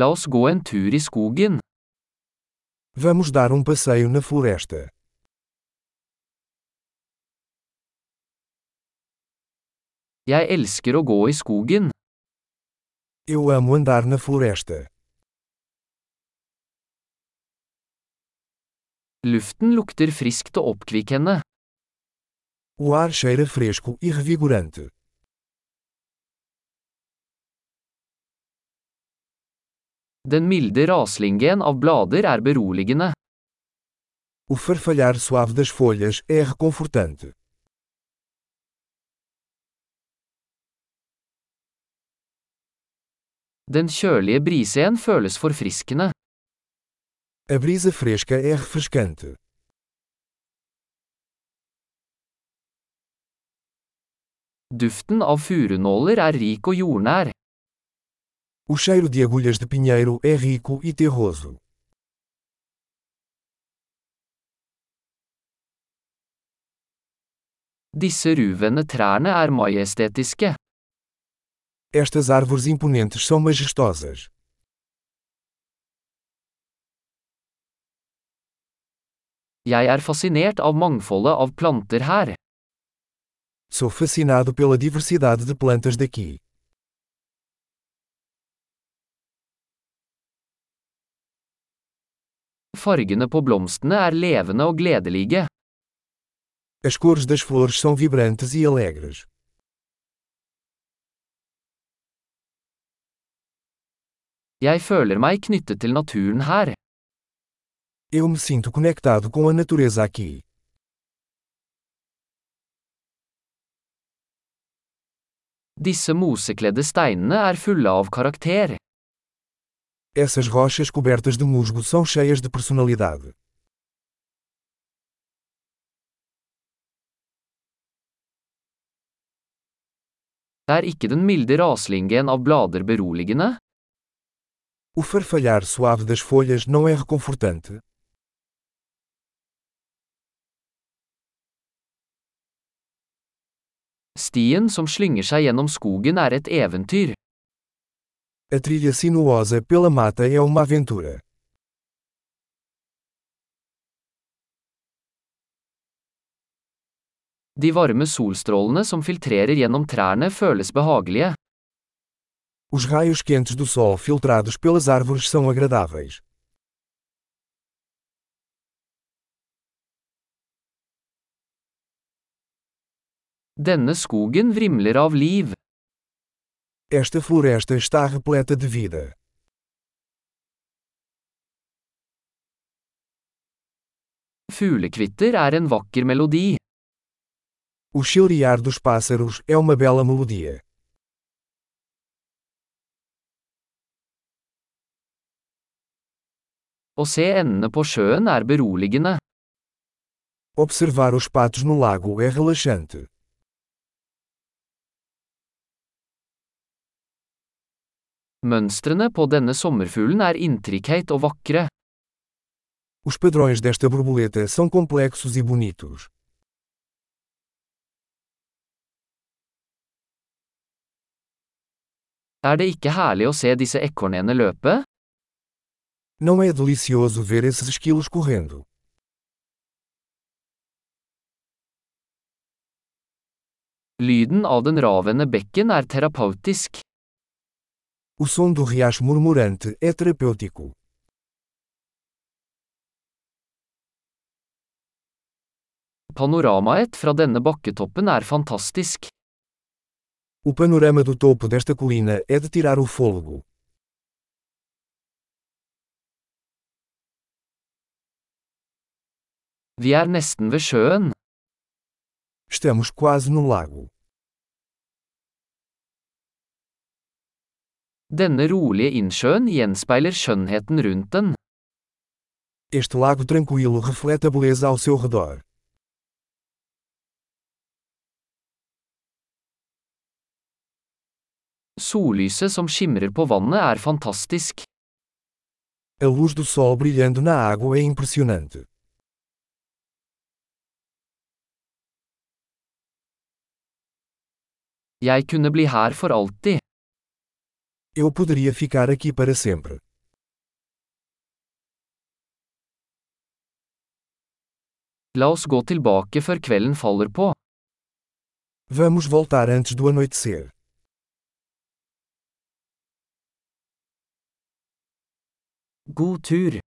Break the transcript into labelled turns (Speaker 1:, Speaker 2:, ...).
Speaker 1: La oss gå en tur i skogen.
Speaker 2: Vamos dar um passeio na floresta.
Speaker 1: Jeg elsker å gå i skogen.
Speaker 2: Eu amo andar na floresta.
Speaker 1: Luften lukter friskt og oppkvikkende.
Speaker 2: O ar cheira fresco e revigorante.
Speaker 1: Den milde raslingen av blader er beroligende.
Speaker 2: O farfalhar suave das folhas é reconfortante.
Speaker 1: Den kjølige brisen føles forfriskende.
Speaker 2: A brisa fresca é refrescante.
Speaker 1: Duften av furunåler er rik og jordnær.
Speaker 2: O cheiro de agulhas de pinheiro é rico e terroso.
Speaker 1: Disse ruvende trærne er majestetiske.
Speaker 2: Estas árvores imponentes são majestosas.
Speaker 1: Jeg er fascinert av mangfoldet av planter her.
Speaker 2: Sou fascinado pela diversidade de plantas daqui.
Speaker 1: Fargene på blomstene er levende og gledelige.
Speaker 2: As cores das flores são vibrantes e alegres.
Speaker 1: Jeg føler meg knyttet til naturen her.
Speaker 2: Eu me sinto conectado com a natureza aqui.
Speaker 1: Disse mosekledde steinene er fulle av karakter.
Speaker 2: Essas rochas cobertas de musgo são cheias de personalidade.
Speaker 1: Er ikke den milde raslingen av blader beroligende?
Speaker 2: O farfalhar suave das folhas não é reconfortante.
Speaker 1: Stien som slynger seg gjennom skogen er et eventyr.
Speaker 2: A trilha sinuosa pela mata é uma aventura.
Speaker 1: De varme solstrålene som filtrerer gjennom trærne føles behagelige.
Speaker 2: Os raios quentes do sol filtrados pelas árvores são agradáveis.
Speaker 1: Denne skogen vrimler av liv.
Speaker 2: Esta floresta está repleta de vida.
Speaker 1: Fuglekvitter er en vakker melodi.
Speaker 2: O chilrear dos pássaros é uma bela melodia.
Speaker 1: Å se endene på sjøen er beroligende.
Speaker 2: Observar os patos no lago é relaxante.
Speaker 1: Mønstrene på denne sommerfuglen er intrikate og vakre.
Speaker 2: Os padrões desta borboleta são complexos e bonitos.
Speaker 1: Er det ikke herlig å se disse ekornene løpe?
Speaker 2: Não é delicioso ver esses esquilos correndo.
Speaker 1: Lyden av den ravende bekken er terapeutisk.
Speaker 2: O som do riacho murmurante é terapêutico.
Speaker 1: Panoramaet fra denne bakketoppen er fantastisk.
Speaker 2: O panorama do topo desta colina é de tirar o fôlego.
Speaker 1: Vi er nesten ved sjøen.
Speaker 2: Estamos quase no lago.
Speaker 1: Denne rolige innsjøen gjenspeiler skjønnheten rundt den.
Speaker 2: Este lago tranquilo reflete a beleza ao seu redor.
Speaker 1: Sollyset som skimrer på vannet er fantastisk.
Speaker 2: A luz do sol brilhando na água é impressionante.
Speaker 1: Jeg kunne bli her for alltid.
Speaker 2: Eu poderia ficar aqui para sempre.
Speaker 1: La oss gå tilbake før kvelden faller på.
Speaker 2: Vamos voltar antes do anoitecer.
Speaker 1: God tur!